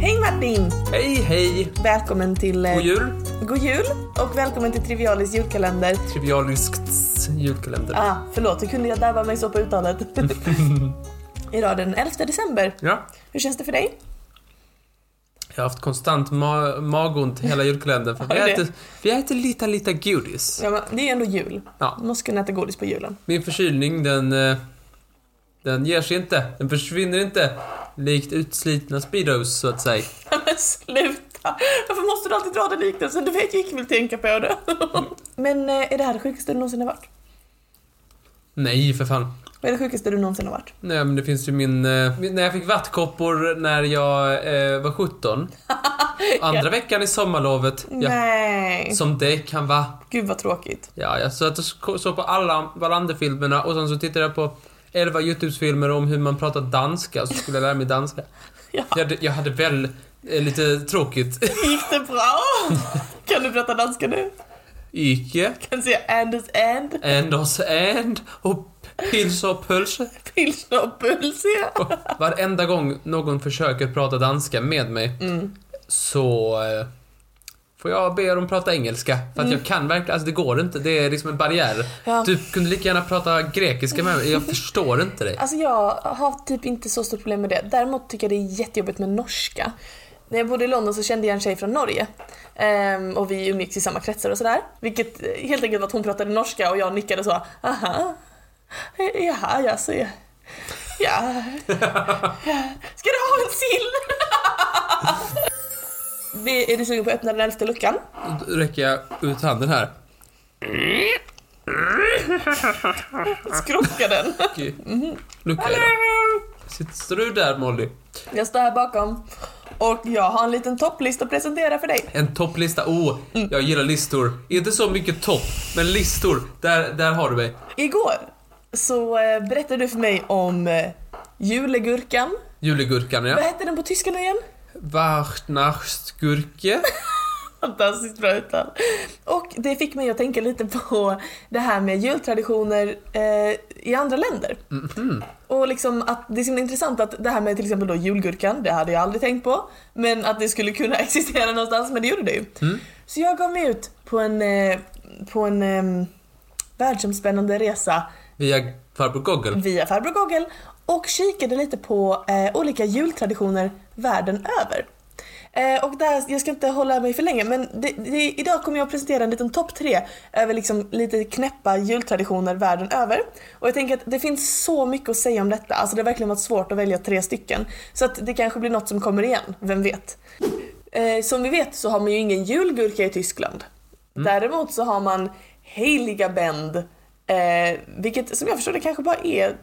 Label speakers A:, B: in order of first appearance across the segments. A: Hej Martin!
B: Hej, hej!
A: Välkommen till... eh,
B: God jul!
A: God jul och välkommen till Trivialis julkalender.
B: Trivialiskt julkalender.
A: Ah, förlåt, hur kunde jag darra mig så på uttalet? Idag den 11 december.
B: Ja,
A: Hur känns det för dig?
B: jag har haft konstant ma- magont hela julkalendern för vi
A: Har du
B: äter, vi äter lite, lite godis.
A: Ja, men det är ju ändå jul.
B: Ja.
A: Man måste kunna äta godis på julen.
B: Min förkylning, den, eh, den ger sig inte. Den försvinner inte. Likt utslitna speedos, så att säga.
A: Men sluta! Varför måste du alltid dra den liknelsen? Du vet ju inte vill tänka på det. Men eh, är det här det sjukaste du någonsin har varit?
B: Nej, för fan.
A: Vad är det sjukaste du någonsin har varit?
B: Nej, men det finns ju min... eh, min- När jag fick vattkoppor när jag eh, var 17. Andra veckan i sommarlovet. Ja,
A: Nej!
B: som det kan vara.
A: Gud vad tråkigt.
B: Ja, jag satt och sk- såg på alla Wallander-filmerna och sen så tittade jag på 11 YouTube-filmer om hur man pratar danska, så skulle jag lära mig danska.
A: Ja.
B: Jag, hade, jag hade väl eh, lite tråkigt.
A: Gick det bra? Kan du prata danska nu?
B: Ike,
A: Kan du säga Anders and?
B: Anders and och Pils och Pölse.
A: Pilsner och pulse?
B: Och Varenda gång någon försöker prata danska med mig
A: Mm.
B: så eh, får jag be dem prata engelska. För att jag kan verkligen, alltså det går inte. Det är liksom en barriär.
A: Mm. Ja.
B: Du kunde lika gärna prata grekiska med mig. Jag förstår inte dig.
A: Alltså jag har typ inte så stort problem med det. Däremot tycker jag det är jättejobbigt med norska. När jag bodde i London så kände jag en tjej från Norge. Ehm, och vi umgicks i samma kretsar och sådär. Vilket eh, helt enkelt var att hon pratade norska och jag nickade så. Aha. Eh, Jaha, jag ser. Ja. ja. Ska du ha en sill? Vi- Är du sugen på att öppna den elfte luckan?
B: Då räcker jag ut handen här.
A: Skrocka den.
B: Okej. Lucka är det. Sitter du där Molly?
A: Jag står här bakom. Och jag har en liten topplista att presentera för dig.
B: En topplista. Oh, jag gillar listor. Inte så mycket topp, men listor. Där, där har du mig.
A: Igår så eh, berättade du för mig om eh, julegurkan.
B: Julegurkan
A: Vad
B: ja.
A: hette den på tyska nu igen?
B: Vartnachtsgurke.
A: Fantastiskt bra uttal. Och det fick mig att tänka lite på det här med jultraditioner eh, i andra länder. Och liksom att det är så himla intressant att det här med till exempel då julgurkan, det hade jag aldrig tänkt på. Men att det skulle kunna existera någonstans, men det gjorde det ju. Så jag gav mig ut på en, eh, på en eh, världsomspännande resa
B: Via farbror Goggle.
A: via farbror Google och kikade lite på eh, olika jultraditioner världen över. Eh, och där, jag ska inte hålla mig för länge men det, det, idag kommer jag att presentera en liten topp tre över liksom lite knäppa jultraditioner världen över. Och jag tänker att det finns så mycket att säga om detta, alltså det har verkligen varit svårt att välja tre stycken. Så att det kanske blir något som kommer igen, vem vet? Eh, som vi vet så har man ju ingen julgurka i Tyskland. Däremot så har man heliga bänd, eh, vilket som jag förstår det kanske bara är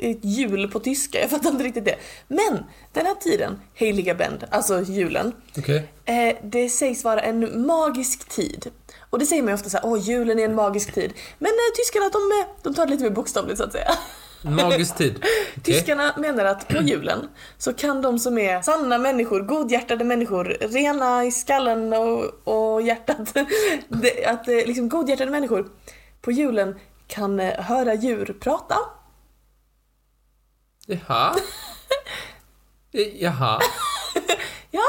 A: ett jul på tyska, jag fattar inte riktigt det. Men den här tiden, heliga bänd, alltså julen,
B: Okej.
A: Eh, det sägs vara en magisk tid. Och det säger man ju ofta såhär, åh julen är en magisk tid. Men eh, tyskarna de, eh, de tar det lite mer bokstavligt så att säga.
B: Magisk tid. Okej.
A: Tyskarna menar att på julen så kan de som är sanna människor, godhjärtade människor, rena i skallen och, och hjärtat, det, att eh, liksom godhjärtade människor på julen kan eh, höra djur prata.
B: Jaha. Eh, Jaha.
A: Ja,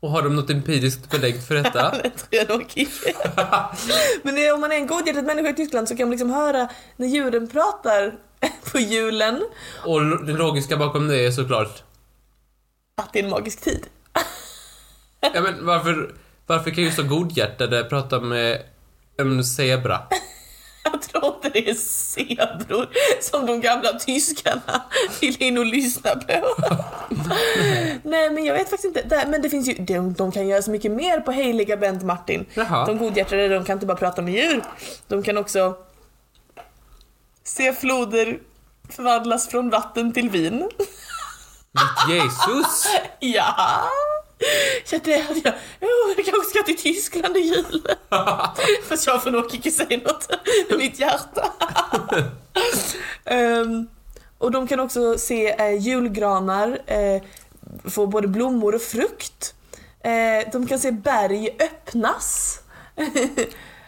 B: Och har de något empiriskt belägg för detta?
A: det tror jag nog inte. Men det, är- om man är en godhjärtad människa i Tyskland så kan man liksom höra när djuren pratar på julen
B: Och lo- det logiska bakom det är såklart
A: att det är en magisk tid.
B: Ja men varför, varför kan ju så godhjärtade prata med en zebra?
A: Jag tror inte det är zebror som de gamla tyskarna vill in och lyssna på. Nej men jag vet faktiskt inte. Där- Men det finns ju, de, de kan göra så mycket mer på Heliga Bent Martin.
B: Jaha.
A: De godhjärtade de kan inte bara prata med djur. De kan också se floder förvandlas från vatten till vin.
B: Jesus!
A: Ja! Så det hade jag... Oh, jag kanske ska till Tyskland i jul. Fast jag får nog inte säga något med mitt hjärta. Ehm, Och de kan också se eh, julgranar, eh, få både blommor och frukt. Eh, de kan se berg öppnas.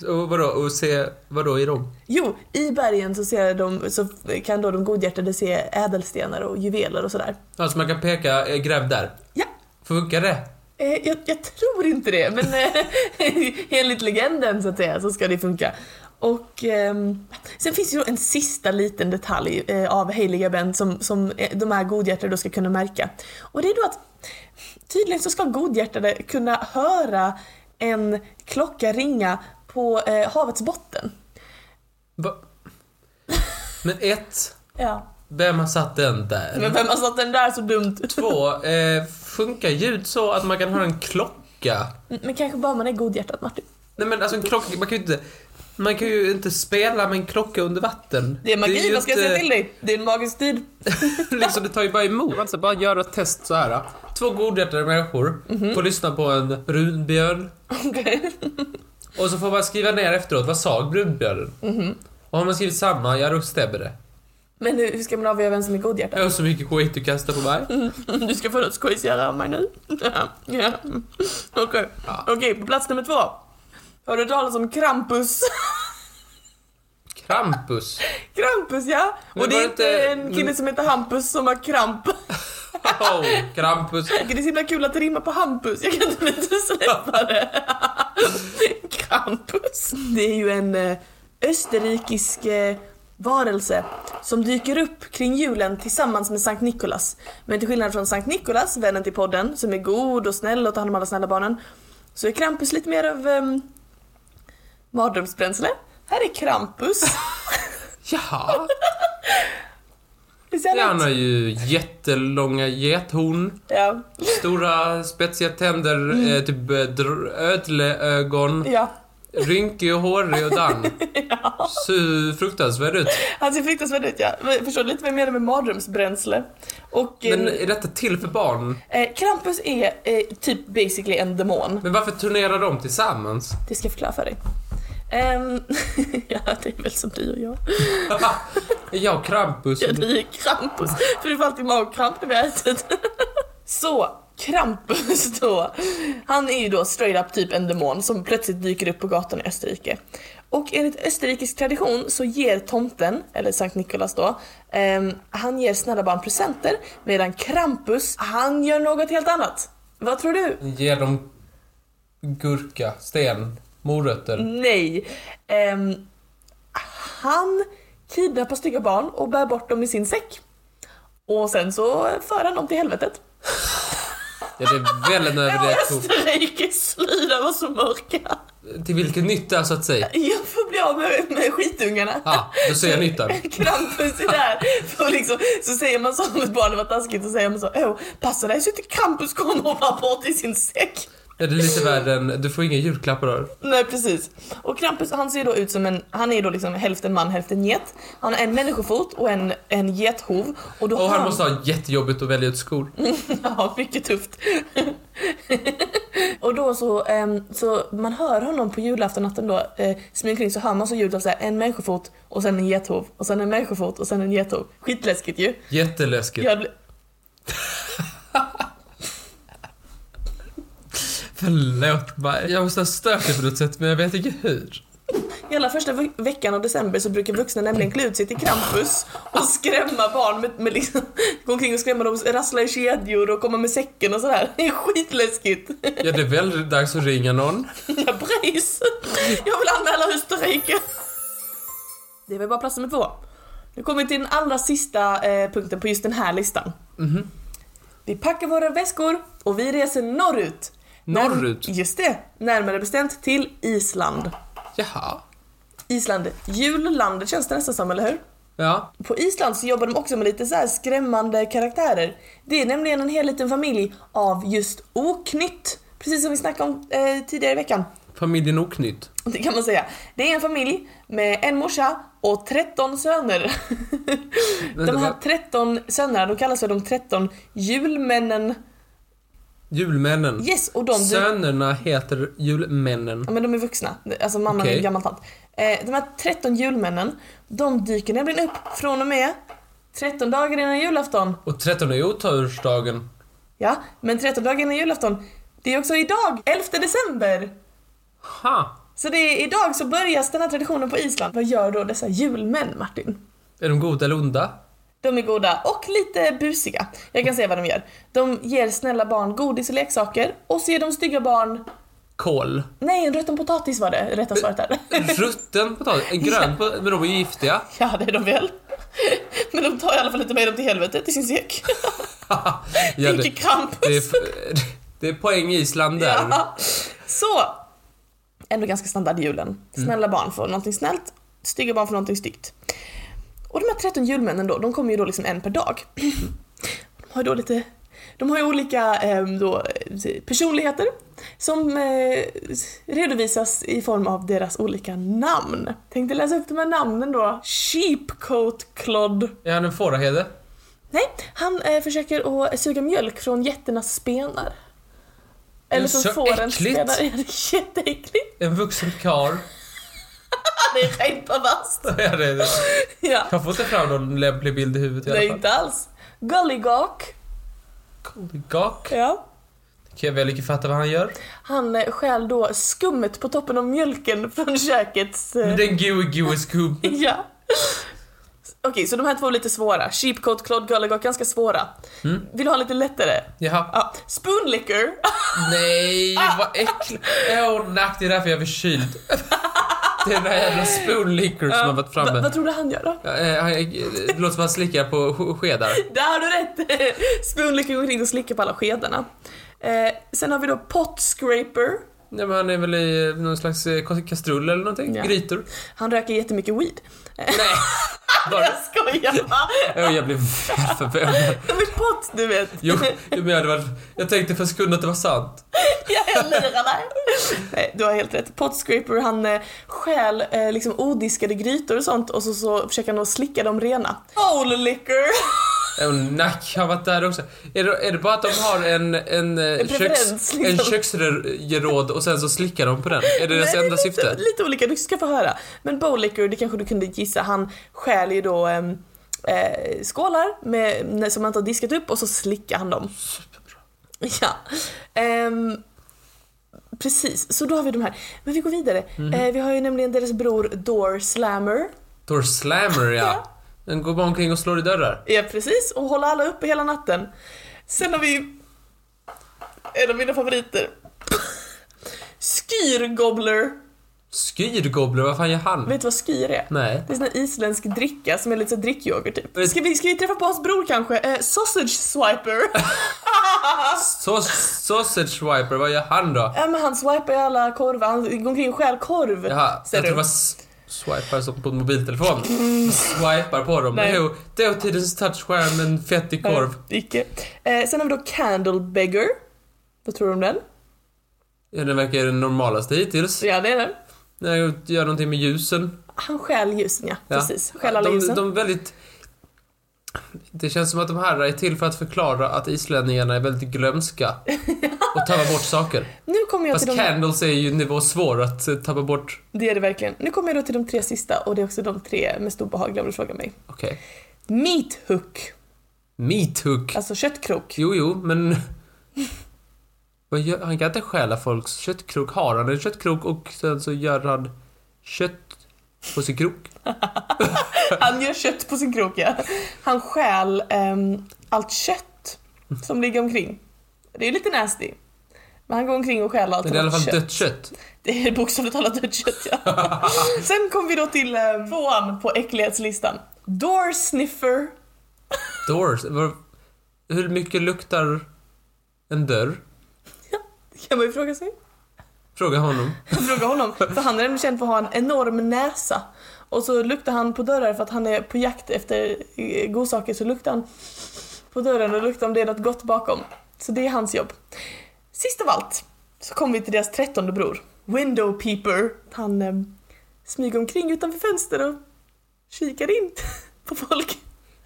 B: Och vadå, och se, vadå i Rom?
A: Jo, i bergen så, ser de, så kan då de godhjärtade se ädelstenar och juveler och sådär.
B: Alltså man kan peka, eh, gräv där.
A: Ja.
B: Funkar det?
A: Eh, jag, jag tror inte det, men eh, enligt legenden så att säga så ska det funka. Och ehm, sen finns det ju en sista liten detalj eh, av Heliga Bend som, som eh, de här godhjärtade då ska kunna märka. Och det är då att tydligen så ska godhjärtade kunna höra en klocka ringa på eh, havets botten.
B: Va? Men ett,
A: Ja.
B: vem har satt den där?
A: Men vem har satt den där så dumt?
B: Två, eh, funkar ljud så att man kan höra en klocka?
A: Men kanske bara man är godhjärtad Martin.
B: Nej men alltså en klocka, man kan ju inte... Man kan ju inte spela med en klocka under vatten.
A: Det är magi,
B: ju
A: vad ska jag
B: inte-
A: säga till dig? Det är en magisk tid.
B: liksom, det tar ju bara emot. Alltså, bara göra ett test så här. Två godhjärtade människor får lyssna på en brunbjörn
A: Okej.
B: och så får man skriva ner efteråt, vad sa brunbjörnen? Och har man skrivit samma, ja då stämmer det.
A: Men hur, hur ska man avgöra vem som är godhjärtad?
B: Jag har så mycket skit du kastar på mig.
A: Du ska få något skojsigare av mig nu. Ja. Okej,
B: Ja.
A: Okej, på plats nummer två. Har du hört talas om Krampus?
B: Krampus.
A: Krampus ja!
B: Men
A: Och det
B: var
A: är
B: det
A: inte
B: inte-
A: en kille som heter Hampus som har kramp.
B: Oh, Krampus.
A: Det är så himla kul att det rimmar på Hampus, jag kan inte släppa det. Krampus. Det är ju en eh, österrikisk eh, varelse som dyker upp kring julen tillsammans med Sankt Nikolas. Men till skillnad från Sankt Nikolas, vännen till podden, som är god och snäll och tar hand om alla snälla barnen, så är Krampus lite mer av um, mardrömsbränsle. Här är Krampus.
B: Jaha.
A: Visst är
B: Han
A: det?
B: har ju jättelånga gethorn,
A: Ja.
B: stora spetsiga tänder, eh, typ eh, dr- ödleögon,
A: ja.
B: rynkig och hårig och dann. Ser fruktansvärd ut.
A: Han ser fruktansvärd ut ja. Men Förstår lite vad jag menar med mardrömsbränsle. Och eh,
B: Men är detta till för barn?
A: eh, Krampus är eh, typ basically en demon.
B: Men varför turnerar de tillsammans?
A: Det ska jag förklara för dig. Ehm, ja, det är väl som du och jag.
B: jag och Krampus.
A: Ja, det är Krampus. För det får alltid magkramp när vi har ätit. Så, Krampus då. Han är ju då straight up typ en demon som plötsligt dyker upp på gatan i Österrike. Och enligt österrikisk tradition så ger tomten, eller Sankt Nikolas då, ehm, han ger snälla barn presenter medan Krampus, han gör något helt annat. Vad tror du?
B: Ger dem gurka, sten, morötter.
A: Nej. Ehm, han kidnappar stygga barn och bär bort dem i sin säck. Och sen så för han dem till helvetet.
B: Ja, det är väl en
A: Ja,
B: överreaktion.
A: Österrikes lyra var så mörka.
B: Till vilken nytta, så att säga?
A: Jag får bli av med, med skitungarna.
B: Ja, då ser jag nyttan.
A: Krampus är där. För liksom, så säger man så om ett barn var taskigt, så säger man så Åh, passa dig så inte Krampus kommer och bär bort i sin säck.
B: Ja, det är lite värre än... Du får inga julklappar av det.
A: Nej precis. Och Krampus han ser ju då ut som en, han är ju då liksom hälften man hälften get. Han har en människofot och en, en gethov. Och då
B: Och han måste ha jättejobbigt att välja ut skor.
A: Ja, mycket tufft. och då så, ehm, så man hör honom på julaftonnatten då, eh, smyger kring så hör man så ljud av så här, en människofot och sen en gethov och sen en människofot och sen en gethov. Skitläskigt ju.
B: Jätteläskigt.
A: Jag, blir-
B: Förlåt mig. Jag måste ha stört dig på något sätt, men jag vet inte hur.
A: Hela första ve- veckan av december så brukar vuxna nämligen klä ut sig till Krampus och skrämma barn med, med liksom, gå omkring och skrämma dem, rassla i kedjor och komma med säcken och sådär. Det är skitläskigt.
B: Ja, det är väl dags att ringa någon.
A: Ja, precis. Jag vill anmäla Österrike. Det var bara plats nummer två. Nu kommer vi till den allra sista eh, punkten på just den här listan.
B: Mhm.
A: Vi packar våra väskor och vi reser norrut.
B: Norrut?
A: När, just det, närmare bestämt till Island.
B: Jaha.
A: Island, jullandet känns det nästan som, eller hur?
B: Ja.
A: På Island så jobbar de också med lite så här skrämmande karaktärer. Det är nämligen en hel liten familj av just oknytt. Precis som vi snackade om eh, tidigare i veckan.
B: Familjen Oknytt.
A: Det kan man säga. Det är en familj med en morsa och 13 söner.
B: Vänta,
A: De här
B: va?
A: 13 sönerna, de kallas för de 13 julmännen.
B: Julmännen.
A: Yes, och de...
B: Sönerna heter julmännen.
A: Ja, men de är vuxna. Alltså mamman är
B: Okej.
A: en gammal tant. Eh, de här 13 julmännen, de dyker nämligen upp från och med 13 dagar innan julafton.
B: Och 13 är otursdagen.
A: Ja, men 13 dagar innan julafton. Det är också idag, 11 december.
B: Ha!
A: Så det är idag så börjar den här traditionen på Island. Vad gör då dessa julmän, Martin?
B: Är de goda eller onda?
A: De är goda och lite busiga. Jag kan säga vad de gör. De ger snälla barn godis och leksaker och så ger de stygga barn...
B: Kol.
A: Nej, en rutten potatis var det rätta svaret där.
B: Rutten potatis. En grön potatis. Men de är ju giftiga.
A: Ja, det är de väl. Men de tar i alla fall inte med dem till helvetet i sin säck.
B: ja,
A: Tänker
B: det,
A: Krampus.
B: det, är, det är poäng Island där.
A: Ja. Så! Ändå ganska standard i julen. Snälla barn får någonting snällt, stygga barn får någonting styggt. Och de här 13 julmännen då, de kommer ju då liksom en per dag. De har ju då lite, de har ju olika eh, då, eh, personligheter som eh, redovisas i form av deras olika namn. Tänkte läsa upp de här namnen då. Sheepcoat Clod.
B: Är han en fåraherde?
A: Nej, han eh, försöker att suga mjölk från getternas spenar. Eller
B: är
A: från
B: så
A: fårens
B: äckligt.
A: spenar. Ja, det är jätteäckligt.
B: En vuxen karl?
A: Det är rent perverst.
B: Ja, det är det.
A: Ja,
B: Jag får inte fram någon lämplig bild i huvudet i
A: det är
B: alla fall.
A: inte alls. Gollygak.
B: Kolgak?
A: Ja.
B: Kan jag väl icke fatta vad han gör?
A: Han eh, stjäl då skummet på toppen av mjölken från kökets... eh,
B: Men den goe goe scoop.
A: Ja. Okej, så de här två är lite svåra. Sheepcoat, Clod, Gollygak, ganska svåra.
B: Mm.
A: Vill du ha lite lättare?
B: Jaha.
A: Ja. Spoonlicker.
B: Nej,
A: Ah.
B: vad äckligt. Åh, oh, nack, det är därför jag är förkyld. Det är den här jävla spoon liquor som har varit
A: Va-
B: framme.
A: vad tror du han gör då?
B: Ja, eh, han- eh, Det låter som han slickar på sk- skedar.
A: Där har du rätt! Spoonlicker går in och slickar på alla skedarna. Eh, sen har vi då pot scraper.
B: Nej, men han är väl i eh, någon slags eh, kas- kastrull eller någonting?
A: Ja.
B: Grytor?
A: Han röker jättemycket weed.
B: Nej. Bara,
A: Jag skojar bara!
B: Åh, jag blev väl förvånad.
A: De är pot du vet!
B: Jo, jo, men jag, hade varit, jag tänkte för en sekund att det var sant.
A: Jag jag lirar där. Nej, du har helt rätt. Pot scraper han eh, stjäl eh, liksom odiskade grytor och sånt och så, så försöker han att slicka dem rena. Bowl licker!
B: Åh, nack, han har varit där också. Är det, är det bara att de har en, en, eh,
A: En preferens,
B: köks,
A: liksom.
B: en köksgeråd och sen så slickar de på den? Är det deras
A: Nej,
B: enda
A: lite,
B: syfte?
A: Lite olika, du ska få höra. Men Bowlicker, det kanske du kunde gissa, han stjäl ju då ehm, eh, skålar med, när- som han inte har diskat upp och så slickar han dem. Ja. Ehm, precis, så då har vi de här. Men vi går vidare.
B: Mhm.
A: Eh, vi har ju nämligen deras bror Door Slammer.
B: Thor Slammer, ja. Den går bara omkring och slår i dörrar.
A: Ja, precis. Och håller alla uppe hela natten. Sen har vi ju en av mina favoriter. Skyrgobbler.
B: Skyrgobbler, vad fan gör han?
A: Vet du vad skyr är?
B: Nej.
A: Det är sån här isländsk dricka som är lite så här drickyoghurt typ. Ska vi, ska vi träffa på hans bror kanske? Eh, sausage swiper.
B: Saus- Sausage Swiper, vad gör han då?
A: ja men han swipar ju alla korvar, han går omkring och stjäl korv.
B: Jaha,
A: ser
B: jag
A: du.
B: tror det var s- swipar som på en mobiltelefon. Swipar på dem.
A: Nej.
B: Jo, dåtidens touchskärm, en fettig korv.
A: Eh, Icke. Eh, sen har vi då Candle Beggar. Vad tror du om den?
B: Ja, den verkar den normalaste hittills.
A: Ja det är den.
B: När jag gör någonting med ljusen.
A: Han stjäl ljusen ja,
B: Ja.
A: precis. Stjäl alla
B: de,
A: ljusen.
B: de är väldigt... Det känns som att de här är till för att förklara att islänningarna är väldigt glömska och tappar bort saker.
A: Nu kommer jag till
B: Fast
A: de
B: candles är ju en nivå svår att eh, tappa bort.
A: Det är det verkligen. Nu kommer jag då till de tre sista och det är också de tre med stor behag om du frågar mig.
B: Okej.
A: Meat hook,
B: Meat hook.
A: alltså köttkrok.
B: Jo, jo, men... Vad gör- Han kan inte stjäla folks köttkrok. Har han en köttkrok och sen så gör han kött på sin krok?
A: Han gör kött på sin krok ja. Han stjäl ehm, allt kött som ligger omkring. Det är lite nasty. Men han går omkring och stjäl allt
B: Det är i alla fall
A: kött.
B: dött kött.
A: Det är bokstavligt talat dött kött ja. Sen kommer vi då till um, tvåan på äcklighetslistan. Door sniffer.
B: Doors. Var- Hur mycket luktar en dörr?
A: Kan man ju fråga sig.
B: Fråga honom.
A: fråga honom. För han är nämligen känd för att ha en enorm näsa. Och så luktar han på dörrar för att han är på jakt efter eh, godsaker. Så luktar han på dörren och luktar om det är något gott bakom. Så det är hans jobb. Sist av allt så kommer vi till deras trettonde bror. Window Peeper. Han eh, smyger omkring utanför fönster och kikar in på folk.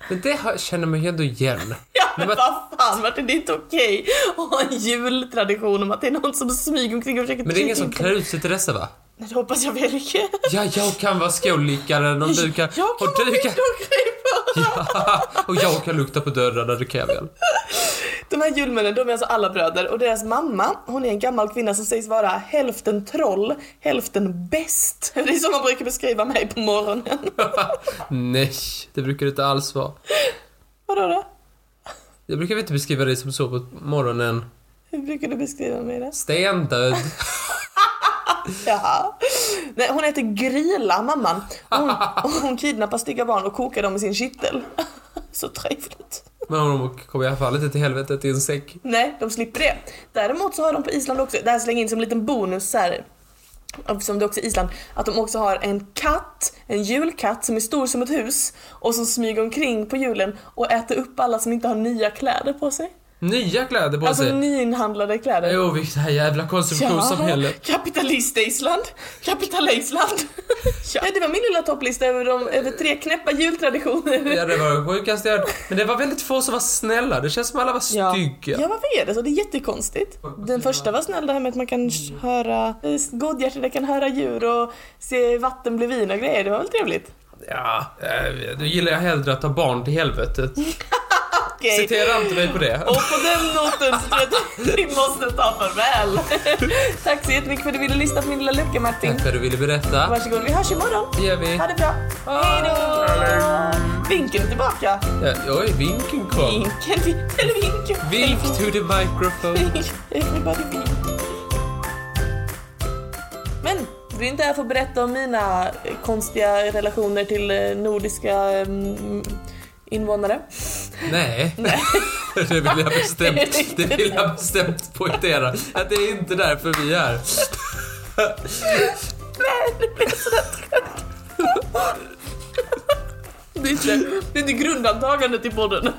B: Men det har- känner man ju ändå igen.
A: Ja men
B: Men
A: vad fan Martin, det är inte okej att ha en jultradition om att det är någon som smyger omkring och försöker
B: Men det är ingen
A: kika
B: som
A: in på-
B: klär ut sig till dessa, va?
A: Nej det hoppas jag verkligen.
B: Ja, jag kan vara skållikaren om du kan...
A: Jag kan
B: och du
A: vara
B: kan...
A: windowcraper!
B: Ja, Och jag kan lukta på dödräddade kaviar.
A: De här julmännen, de är alltså alla bröder och deras mamma, hon är en gammal kvinna som sägs vara hälften troll, hälften bäst. Det är så man brukar beskriva mig på morgonen.
B: Nej, det brukar det inte alls vara.
A: Vadå då?
B: Jag brukar väl inte beskriva dig som så på morgonen.
A: Hur brukar du beskriva mig då?
B: Stendöd.
A: Jaha. Nej, hon heter Grila, mamman. Och Hon, och hon kidnappar stygga barn och kokar dem i sin kittel. Så trevligt.
B: Men hon kommer i alla fall inte till helvetet i en säck.
A: Nej, de slipper det. Däremot så har de på Island också, det här slänger jag in som en liten bonus så här. Eftersom det också är Island, att de också har en katt, en julkatt som är stor som ett hus och som smyger omkring på julen och äter upp alla som inte har nya kläder på sig.
B: Nya kläder på
A: Alltså
B: sig.
A: nyinhandlade kläder.
B: Jo, vilket här jävla konsumtionssamhället.
A: kapitalist-Island. Kapital-Island. ja, det var min lilla topplista över, de, över tre knäppa jultraditioner.
B: Ja, det var det sjukaste jag hört. Men det var väldigt få som var snälla. Det känns som alla var
A: Ja.
B: stygga.
A: ja, varför är det så? Det är jättekonstigt. Den första var snäll, det här med att man kan höra eh, godhjärtade kan höra djur och se vatten bli vin och grejer. Det var väl trevligt?
B: Ja, eh, då gillar jag hellre att ta barn till helvetet.
A: Okej.
B: Citera inte mig på det.
A: Och på den noten så tror jag att vi måste ta farväl. Tack så jättemycket för att du ville lyssna på min lilla lucka Martin.
B: Tack för att du ville berätta.
A: Varsågod, vi hörs imorgon.
B: Det gör vi.
A: Ha det bra. Hej då! Vinken är tillbaka.
B: Ja, oj, vinken kom.
A: Vinken, vinkel, vinkel.
B: Vink to the microphone.
A: Everybody vink. Men du är inte här för att berätta om mina eh, konstiga relationer till eh, nordiska mm, invånare.
B: Nej. det vill jag bestämt, det vill jag bestämt poängtera. Att det är inte därför vi är här.
A: Nej, nu blir jag så trött. Det är, inte, det är inte grundantagandet i podden.